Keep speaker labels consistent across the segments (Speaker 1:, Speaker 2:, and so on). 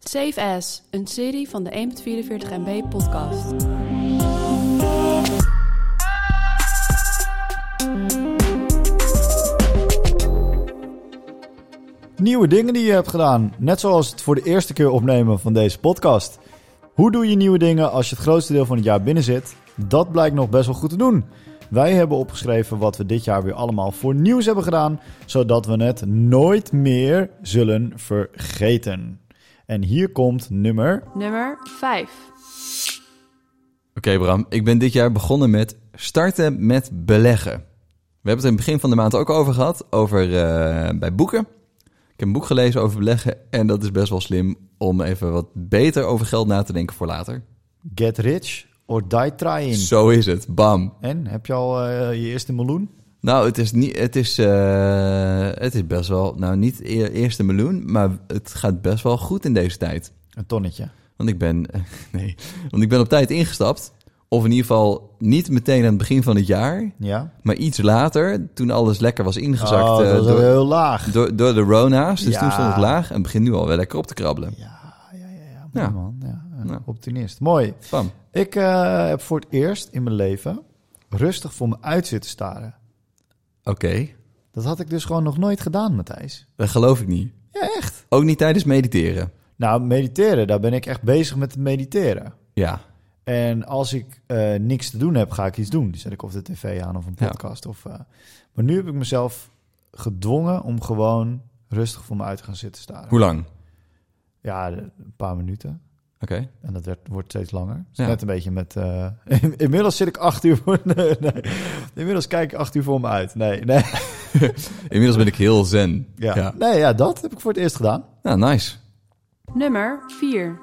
Speaker 1: Safe As, een serie van de 1.44 MB podcast.
Speaker 2: Nieuwe dingen die je hebt gedaan. Net zoals het voor de eerste keer opnemen van deze podcast. Hoe doe je nieuwe dingen als je het grootste deel van het jaar binnen zit? Dat blijkt nog best wel goed te doen. Wij hebben opgeschreven wat we dit jaar weer allemaal voor nieuws hebben gedaan, zodat we het nooit meer zullen vergeten. En hier komt nummer.
Speaker 1: Nummer 5.
Speaker 3: Oké Bram, ik ben dit jaar begonnen met starten met beleggen. We hebben het in het begin van de maand ook over gehad, over eh, bij boeken. Ik heb een boek gelezen over beleggen en dat is best wel slim om even wat beter over geld na te denken voor later.
Speaker 2: Get rich or die trying.
Speaker 3: Zo is het, bam.
Speaker 2: En heb je al eh, je eerste miljoen?
Speaker 3: Nou, het is, niet, het, is, eh, het is best wel, nou niet e- eerste miljoen, maar het gaat best wel goed in deze tijd.
Speaker 2: Een tonnetje.
Speaker 3: Want ik ben, nee, want ik ben op tijd ingestapt. Of in ieder geval niet meteen aan het begin van het jaar.
Speaker 2: Ja.
Speaker 3: Maar iets later, toen alles lekker was ingezakt
Speaker 2: oh,
Speaker 3: eh,
Speaker 2: dat is
Speaker 3: door,
Speaker 2: heel laag.
Speaker 3: door, door de Rona's. Dus
Speaker 2: Ja.
Speaker 3: toen stond het laag en begint nu al wel lekker op te krabbelen.
Speaker 2: Ja, ja, ja, ja.
Speaker 3: Ja.
Speaker 2: Man, ja. eh,
Speaker 3: Ja.
Speaker 2: Optimist. Mooi.
Speaker 3: Bam.
Speaker 2: Ik eh, heb voor het eerst in mijn leven rustig voor me uit zitten staren.
Speaker 3: Oké,
Speaker 2: Dat had ik dus gewoon nog nooit gedaan, Matthijs.
Speaker 3: dat geloof ik niet.
Speaker 2: Ja, echt.
Speaker 3: Ook niet tijdens mediteren.
Speaker 2: Nou, mediteren, daar ben ik echt bezig met het mediteren.
Speaker 3: Ja,
Speaker 2: En als ik eh, niks te doen heb, ga ik iets doen. Dan zet ik of de tv aan of een
Speaker 3: Ja.
Speaker 2: podcast. Of, eh, Maar nu heb ik mezelf gedwongen om gewoon rustig voor me uit te gaan zitten staren.
Speaker 3: hoe lang? Oké,
Speaker 2: Ja, de- een paar minuten. En dat werd, wordt steeds langer. Dus
Speaker 3: Ja.
Speaker 2: Net een beetje met... eh, inmiddels zit ik acht uur voor... Nee, nee. Inmiddels kijk ik acht uur voor me uit. Nee, nee.
Speaker 3: inmiddels ben ik heel zen.
Speaker 2: Ja. Nee, ja, dat heb ik voor het eerst gedaan.
Speaker 3: Nou, nice.
Speaker 1: Nummer 4.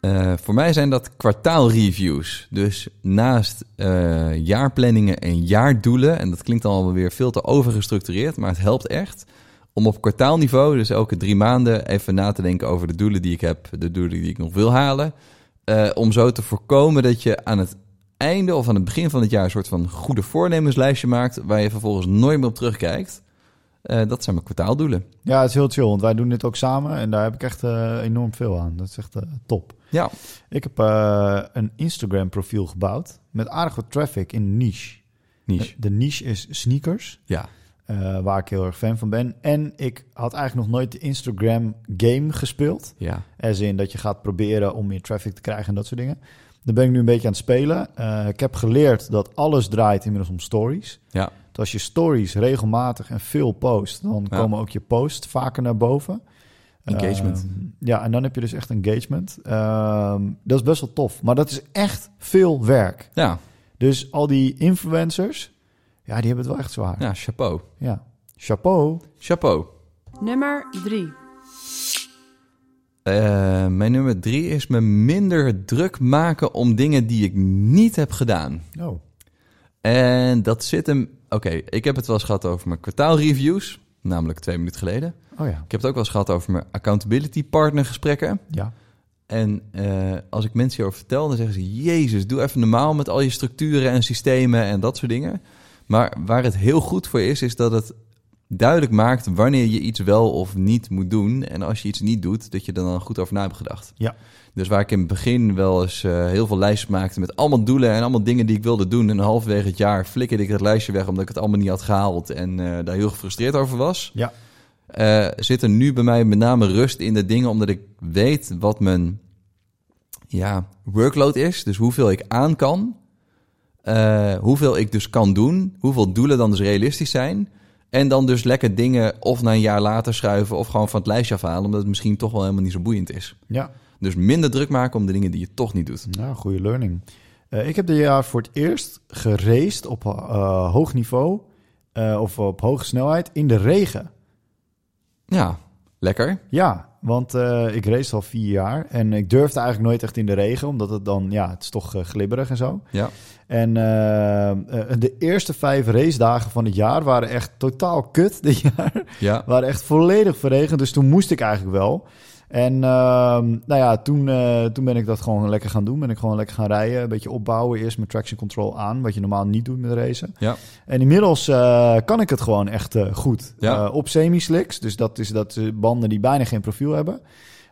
Speaker 3: Eh, voor mij zijn dat kwartaalreviews. Dus naast eh, jaarplanningen en jaardoelen, en dat klinkt allemaal weer veel te overgestructureerd, maar het helpt echt om op kwartaalniveau, dus elke drie maanden, even na te denken over de doelen die ik heb, de doelen die ik nog wil halen. Eh, om zo te voorkomen dat je aan het einde of aan het begin van het jaar een soort van goede voornemenslijstje maakt, waar je vervolgens nooit meer op terugkijkt. Eh, dat zijn mijn kwartaaldoelen.
Speaker 2: Ja, het is heel chill, want wij doen dit ook samen. En daar heb ik echt eh, enorm veel aan. Dat is echt eh, top.
Speaker 3: Ja,
Speaker 2: Ik heb eh, een Instagram-profiel gebouwd met aardig wat traffic in niche.
Speaker 3: niche.
Speaker 2: De niche is sneakers.
Speaker 3: Ja,
Speaker 2: eh, waar ik heel erg fan van ben. En ik had eigenlijk nog nooit de Instagram game gespeeld.
Speaker 3: ja.
Speaker 2: Als in dat je gaat proberen om meer traffic te krijgen en dat soort dingen. Daar ben ik nu een beetje aan het spelen. Eh, ik heb geleerd dat alles draait inmiddels om stories.
Speaker 3: Ja,
Speaker 2: Dus als je stories regelmatig en veel post, dan
Speaker 3: Ja.
Speaker 2: komen ook je posts vaker naar boven.
Speaker 3: Engagement.
Speaker 2: Ehm, ja, en dan heb je dus echt engagement. Ehm, dat is best wel tof. Maar dat is echt veel werk.
Speaker 3: ja,
Speaker 2: Dus al die influencers, ja, die hebben het wel echt zwaar. Ja.
Speaker 3: ja chapeau.
Speaker 2: Chapeau.
Speaker 3: Chapeau.
Speaker 1: Nummer 3.
Speaker 3: Eh, mijn nummer drie is me minder druk maken om dingen die ik niet heb gedaan.
Speaker 2: Oh.
Speaker 3: En dat zit hem. Oké, ik heb het wel eens gehad over mijn kwartaalreviews, namelijk twee minuten geleden.
Speaker 2: Oh ja.
Speaker 3: Ik heb het ook wel eens gehad over mijn accountability partner gesprekken.
Speaker 2: Ja.
Speaker 3: En eh, als ik mensen hierover vertel, dan zeggen ze: Jezus, doe even normaal met al je structuren en systemen en dat soort dingen. Maar waar het heel goed voor is, is dat het duidelijk maakt wanneer je iets wel of niet moet doen. En als je iets niet doet, dat je er dan goed over na hebt gedacht.
Speaker 2: Ja.
Speaker 3: Dus waar ik in het begin wel eens eh, heel veel lijstjes maakte met allemaal doelen en allemaal dingen die ik wilde doen. En halverwege het jaar flikkerde ik het lijstje weg omdat ik het allemaal niet had gehaald en eh, daar heel gefrustreerd over was.
Speaker 2: Ja.
Speaker 3: Eh, zit er nu bij mij met name rust in de dingen omdat ik weet wat mijn ja, workload is. Dus hoeveel ik aan kan. eh, hoeveel ik dus kan doen. Hoeveel doelen dan dus realistisch zijn. En dan dus lekker dingen of na een jaar later schuiven of gewoon van het lijstje afhalen. Omdat het misschien toch wel helemaal niet zo boeiend is.
Speaker 2: Ja.
Speaker 3: Dus minder druk maken om de dingen die je toch niet doet.
Speaker 2: Nou, goede learning. Eh, ik heb dit jaar voor het eerst geraced op eh, hoog niveau eh, of op hoge snelheid in de regen.
Speaker 3: Ja, lekker.
Speaker 2: Ja, want eh, ik race al vier jaar en ik durfde eigenlijk nooit echt in de regen, omdat het dan, ja, het is toch eh, glibberig en zo.
Speaker 3: Ja.
Speaker 2: En eh, eh, de eerste vijf racedagen van het jaar waren echt totaal kut dit jaar.
Speaker 3: Ja.
Speaker 2: waren echt volledig verregend. Dus toen moest ik eigenlijk wel. En ehm, nou ja, toen, eh, toen ben ik dat gewoon lekker gaan doen. Ben ik gewoon lekker gaan rijden. Een beetje opbouwen. Eerst met traction control aan. Wat je normaal niet doet met racen.
Speaker 3: Ja.
Speaker 2: En inmiddels eh, kan ik het gewoon echt eh, goed.
Speaker 3: Ja.
Speaker 2: Eh, op semi-slicks. Dus dat, is, dat eh, banden die bijna geen profiel wiel hebben.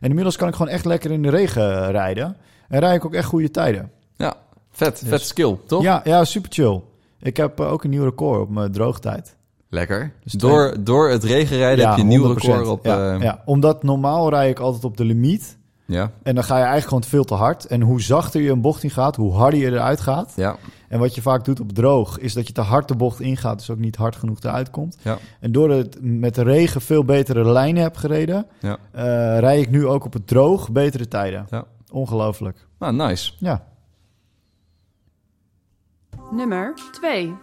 Speaker 2: En inmiddels kan ik gewoon echt lekker in de regen eh, rijden. En rijd ik ook echt goede tijden.
Speaker 3: Ja, vet.
Speaker 2: Dus-
Speaker 3: Vet skill, toch?
Speaker 2: Ja, ja, super chill. Ik heb eh, ook een nieuw record op mijn droogtijd.
Speaker 3: Lekker. Dus
Speaker 2: twee-
Speaker 3: door, door het regenrijden heb je een nieuw
Speaker 2: 100%.
Speaker 3: record op...
Speaker 2: Ja,
Speaker 3: eh,
Speaker 2: ja, omdat normaal rijd ik altijd op de limiet.
Speaker 3: ja.
Speaker 2: En dan ga je eigenlijk gewoon veel te hard. En hoe zachter je een bocht in gaat, hoe harder je eruit gaat.
Speaker 3: ja.
Speaker 2: En wat je vaak doet op droog, is dat je te hard de bocht ingaat, dus ook niet hard genoeg eruit komt.
Speaker 3: Ja.
Speaker 2: En door het met de regen veel betere lijnen heb gereden,
Speaker 3: Ja.
Speaker 2: eh, rij ik nu ook op het droog betere tijden.
Speaker 3: Ja.
Speaker 2: Ongelooflijk.
Speaker 3: Nou, nice.
Speaker 2: Ja.
Speaker 1: Nummer 2.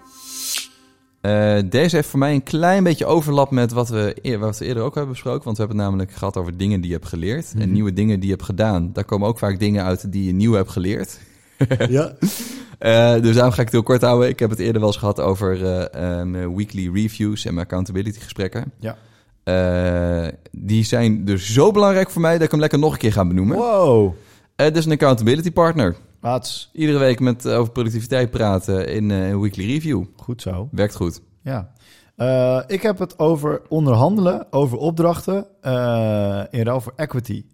Speaker 3: Eh, deze heeft voor mij een klein beetje overlap met wat we, eer- wat we eerder ook hebben besproken. Want we hebben het namelijk gehad over dingen die je hebt geleerd.
Speaker 2: Mhm.
Speaker 3: En nieuwe dingen die je hebt gedaan. Daar komen ook vaak dingen uit die je nieuw hebt geleerd.
Speaker 2: ja.
Speaker 3: Eh, dus daarom ga ik het heel kort houden. Ik heb het eerder wel eens gehad over eh, eh, mijn weekly reviews en mijn accountability gesprekken.
Speaker 2: Ja.
Speaker 3: Eh, die zijn dus zo belangrijk voor mij dat ik hem lekker nog een keer ga benoemen.
Speaker 2: Wow.
Speaker 3: Eh, dus een accountability partner.
Speaker 2: Maats.
Speaker 3: Iedere week met, eh, over productiviteit praten in eh, een weekly review.
Speaker 2: Goed zo.
Speaker 3: Werkt goed.
Speaker 2: Ja. Eh, ik heb het over onderhandelen, over opdrachten eh, in ruil voor equity.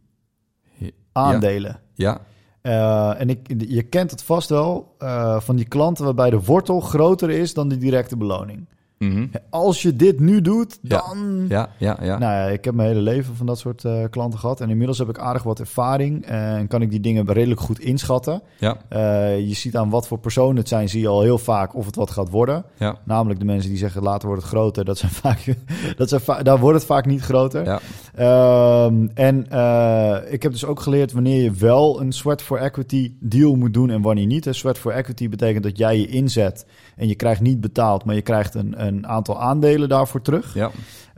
Speaker 2: Aandelen.
Speaker 3: Ja,
Speaker 2: Eh, en ik, je kent het vast wel eh, van die klanten waarbij de wortel groter is dan de directe beloning.
Speaker 3: Mhm.
Speaker 2: Als je dit nu doet,
Speaker 3: Ja.
Speaker 2: dan...
Speaker 3: ja, ja, ja.
Speaker 2: Nou ja, ik heb mijn hele leven van dat soort eh, klanten gehad. En inmiddels heb ik aardig wat ervaring eh, en kan ik die dingen redelijk goed inschatten.
Speaker 3: ja,
Speaker 2: Eh, je ziet aan wat voor personen het zijn, zie je al heel vaak of het wat gaat worden.
Speaker 3: ja.
Speaker 2: Namelijk de mensen die zeggen later wordt het groter. Dat zijn vaak, dat zijn va- daar wordt het vaak niet groter.
Speaker 3: Ja.
Speaker 2: Ehm, en eh, ik heb dus ook geleerd wanneer je wel een sweat for equity deal moet doen en wanneer niet. Een sweat for equity betekent dat jij je inzet en je krijgt niet betaald, maar je krijgt een, een aantal aandelen daarvoor terug.
Speaker 3: Ja,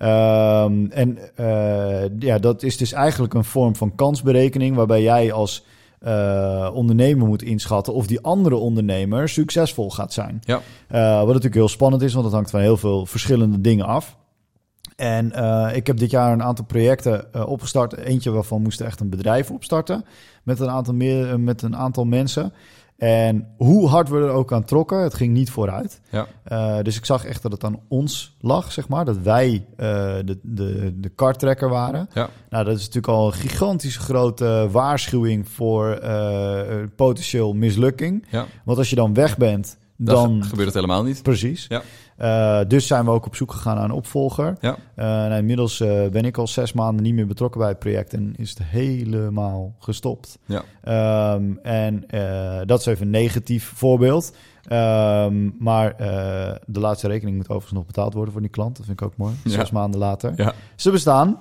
Speaker 2: Ehm, en eh, ja, dat is dus eigenlijk een vorm van kansberekening waarbij jij als eh, ondernemer moet inschatten of die andere ondernemer succesvol gaat zijn.
Speaker 3: ja,
Speaker 2: Eh, wat natuurlijk heel spannend is, want dat hangt van heel veel verschillende dingen af. En eh, ik heb dit jaar een aantal projecten eh, opgestart. Eentje waarvan moest echt een bedrijf opstarten met een aantal, meer, eh, met een aantal mensen. En hoe hard we er ook aan trokken, het ging niet vooruit.
Speaker 3: ja,
Speaker 2: Eh, dus ik zag echt dat het aan ons lag, zeg maar. Dat wij eh, de, de, de kartrekker waren.
Speaker 3: ja,
Speaker 2: Nou, dat is natuurlijk al een gigantische grote waarschuwing voor eh, potentieel mislukking.
Speaker 3: ja.
Speaker 2: Want als je dan weg bent,
Speaker 3: Dan
Speaker 2: dan
Speaker 3: gebeurt het helemaal niet.
Speaker 2: Precies.
Speaker 3: Ja.
Speaker 2: Eh, dus zijn we ook op zoek gegaan naar een opvolger.
Speaker 3: Ja.
Speaker 2: Eh, nou, inmiddels eh, ben ik al zes maanden niet meer betrokken bij het project en is het helemaal gestopt.
Speaker 3: Ja.
Speaker 2: Ehm, en eh, dat is even een negatief voorbeeld. Ehm, maar eh, de laatste rekening moet overigens nog betaald worden voor die klant. Dat vind ik ook mooi.
Speaker 3: Ja.
Speaker 2: Zes maanden later.
Speaker 3: Ja.
Speaker 2: Ze bestaan.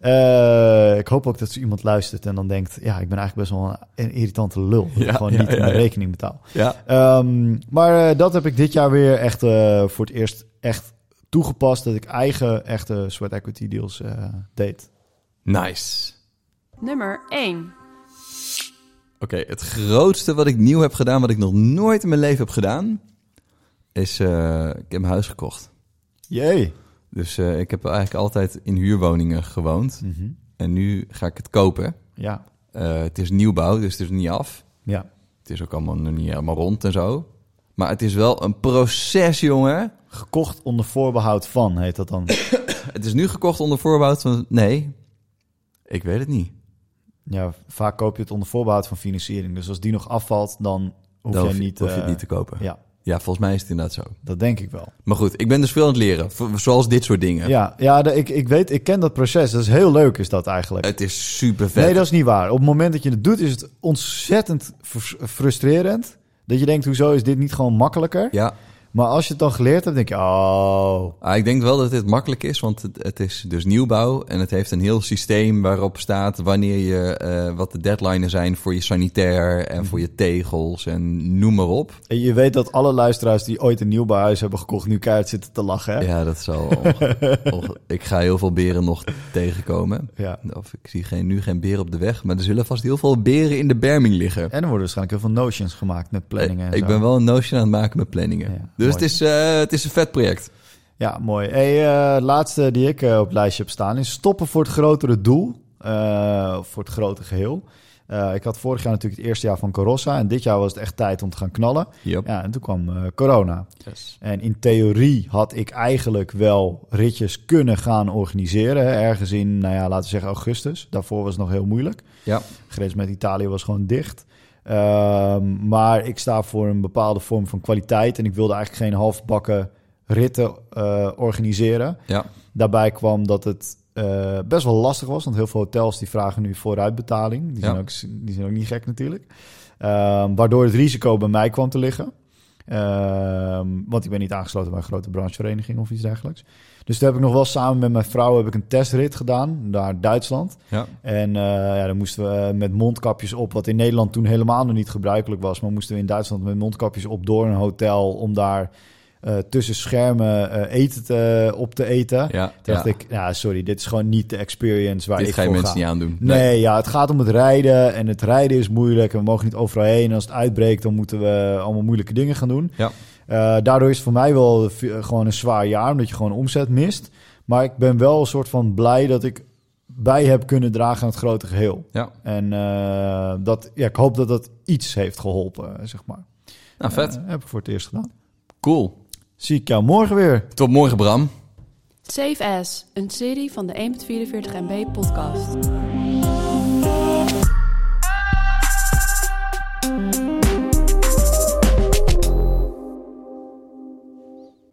Speaker 2: Eh, ik hoop ook dat ze iemand luistert en dan denkt... ja, ik ben eigenlijk best wel een, een irritante lul. Dat ik
Speaker 3: Ja,
Speaker 2: gewoon
Speaker 3: ja,
Speaker 2: niet
Speaker 3: ja,
Speaker 2: mijn
Speaker 3: ja.
Speaker 2: rekening betaal.
Speaker 3: Ja,
Speaker 2: Ehm, maar eh, dat heb ik dit jaar weer echt eh, voor het eerst echt toegepast dat ik eigen echte sweat equity deals eh, deed.
Speaker 3: nice.
Speaker 1: Nummer 1.
Speaker 3: Oké, het grootste wat ik nieuw heb gedaan, wat ik nog nooit in mijn leven heb gedaan, is eh, ik heb mijn huis gekocht.
Speaker 2: Jee.
Speaker 3: Dus eh, ik heb eigenlijk altijd in huurwoningen gewoond. En nu ga ik het kopen.
Speaker 2: Mhm. Ja,
Speaker 3: Eh, het is nieuwbouw, dus het is niet af.
Speaker 2: ja,
Speaker 3: Het is ook allemaal nog niet helemaal rond en zo. Maar het is wel een proces, jongen.
Speaker 2: gekocht onder voorbehoud van heet dat dan.
Speaker 3: Het is nu gekocht onder voorbehoud van... Nee, ik weet het niet.
Speaker 2: ja, vaak koop je het onder voorbehoud van financiering. Dus als die nog afvalt, dan hoef
Speaker 3: Dan
Speaker 2: je niet.
Speaker 3: hoef je het
Speaker 2: eh,
Speaker 3: niet te kopen.
Speaker 2: Ja,
Speaker 3: Ja, volgens mij is het inderdaad zo.
Speaker 2: dat denk ik wel.
Speaker 3: Maar goed, ik ben dus veel aan het leren. v- Zoals dit soort dingen.
Speaker 2: Ja, ja, de- ik, ik weet, ik ken dat proces. Dat is heel leuk, is dat eigenlijk.
Speaker 3: Het is super vet.
Speaker 2: Nee, dat is niet waar. Op het moment dat je het doet, is het ontzettend frus- frustrerend. Dat je denkt, hoezo is dit niet gewoon makkelijker?
Speaker 3: Ja,
Speaker 2: Maar als je het dan geleerd hebt, denk je, oh.
Speaker 3: ah, ik denk wel dat dit makkelijk is, want het, het is dus nieuwbouw. En het heeft een heel systeem waarop staat wanneer je, eh, wat de deadlines zijn voor je sanitair en voor je tegels en noem maar op.
Speaker 2: En je weet dat alle luisteraars die ooit een nieuwbouwhuis hebben gekocht, nu keihard zitten te lachen. Hè?
Speaker 3: Ja, dat zal. onge- onge- ik ga heel veel beren nog tegenkomen.
Speaker 2: Ja.
Speaker 3: Of ik zie geen, nu geen beren op de weg, maar er zullen vast heel veel beren in de berming liggen.
Speaker 2: En er worden waarschijnlijk heel veel notions gemaakt met planningen. en
Speaker 3: ik
Speaker 2: zo.
Speaker 3: ben wel een notion aan het maken met planningen.
Speaker 2: Ja,
Speaker 3: dus
Speaker 2: mooi.
Speaker 3: het is, eh, het is een vet project.
Speaker 2: Ja, mooi. Hey, eh, het laatste die ik eh, op het lijstje heb staan is stoppen voor het grotere doel, eh, voor het grote geheel. Eh, Eh, ik had vorig jaar natuurlijk het eerste jaar van Corossa. En dit jaar was het echt tijd om te gaan knallen.
Speaker 3: Yep.
Speaker 2: Ja, en toen kwam eh, corona.
Speaker 3: Yes.
Speaker 2: En in theorie had ik eigenlijk wel ritjes kunnen gaan organiseren. hè, Ergens in, nou ja, laten we zeggen augustus. Daarvoor was het nog heel moeilijk.
Speaker 3: Ja.
Speaker 2: Grens met Italië was gewoon dicht. Ehm, maar ik sta voor een bepaalde vorm van kwaliteit. En ik wilde eigenlijk geen halfbakken ritten eh, organiseren.
Speaker 3: Ja.
Speaker 2: Daarbij kwam dat het eh, best wel lastig was. Want heel veel hotels die vragen nu vooruitbetaling. Die, zijn,
Speaker 3: Ja.
Speaker 2: ook, die zijn ook niet gek natuurlijk. Ehm, waardoor het risico bij mij kwam te liggen. Ehm, want ik ben niet aangesloten bij een grote branchevereniging of iets dergelijks. Dus toen heb ik nog wel samen met mijn vrouw heb ik een testrit gedaan naar Duitsland.
Speaker 3: Ja.
Speaker 2: En eh, ja, dan moesten we eh, met mondkapjes op, wat in Nederland toen helemaal nog niet gebruikelijk was. Maar moesten we in Duitsland met mondkapjes op door een hotel om daar eh, tussen schermen eh, eten te- op te eten.
Speaker 3: Ja.
Speaker 2: Toen
Speaker 3: ja.
Speaker 2: dacht ik, ja, sorry, dit is gewoon niet de experience waar
Speaker 3: Dit
Speaker 2: ik
Speaker 3: ga
Speaker 2: voor
Speaker 3: je
Speaker 2: ga.
Speaker 3: mensen niet aandoen.
Speaker 2: Nee, ja, het gaat om het rijden en het rijden is moeilijk en we mogen niet overal heen. En als het uitbreekt, dan moeten we allemaal moeilijke dingen gaan doen.
Speaker 3: Ja.
Speaker 2: Eh, daardoor is het voor mij wel v- eh, gewoon een zwaar jaar, omdat je gewoon omzet mist. Maar ik ben wel een soort van blij dat ik bij heb kunnen dragen aan het grote geheel.
Speaker 3: Ja.
Speaker 2: En eh, dat, ja, ik hoop dat dat iets heeft geholpen, zeg maar.
Speaker 3: Nou, vet.
Speaker 2: Eh, heb ik voor het eerst gedaan.
Speaker 3: Cool.
Speaker 2: Zie ik jou morgen weer.
Speaker 3: Tot morgen, Bram.
Speaker 1: Safe As, een serie van de 1.44 MB podcast.